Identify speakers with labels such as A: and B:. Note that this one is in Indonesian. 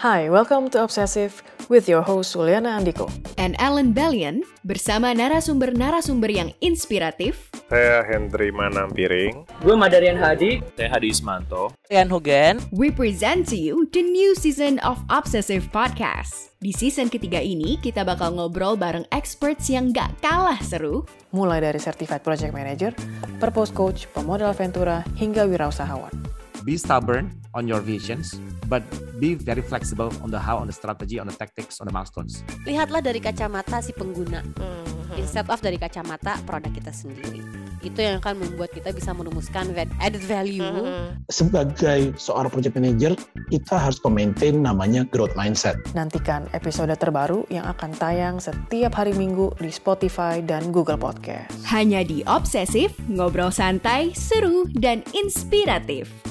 A: Hi, welcome to Obsessive with your host Suliana Andiko.
B: and Ellen Bellion bersama narasumber-narasumber yang inspiratif
C: Saya Hendri Manampiring.
D: Gue Madarian Hadi,
E: Saya Hadi Ismanto.
F: Rian Hugen.
B: we present to you the new season of Obsessive Podcast. Di season ketiga ini, kita bakal ngobrol bareng experts yang gak kalah seru
A: Mulai dari Certified Project Manager, Purpose Coach, Pemodal Ventura, hingga wirausahawan.
G: be stubborn on your visions, but be very flexible on the how, on the strategy, on the tactics, on the milestones.
H: lihatlah dari kacamata si pengguna instead of dari kacamata produk kita sendiri itu yang akan membuat kita bisa merumuskan va- added value
I: sebagai seorang project manager, kita harus maintain namanya growth mindset.
A: Nantikan episode terbaru yang akan tayang setiap hari Minggu di Spotify dan Google Podcast.
B: hanya di Obsessive, ngobrol santai, seru, dan inspiratif.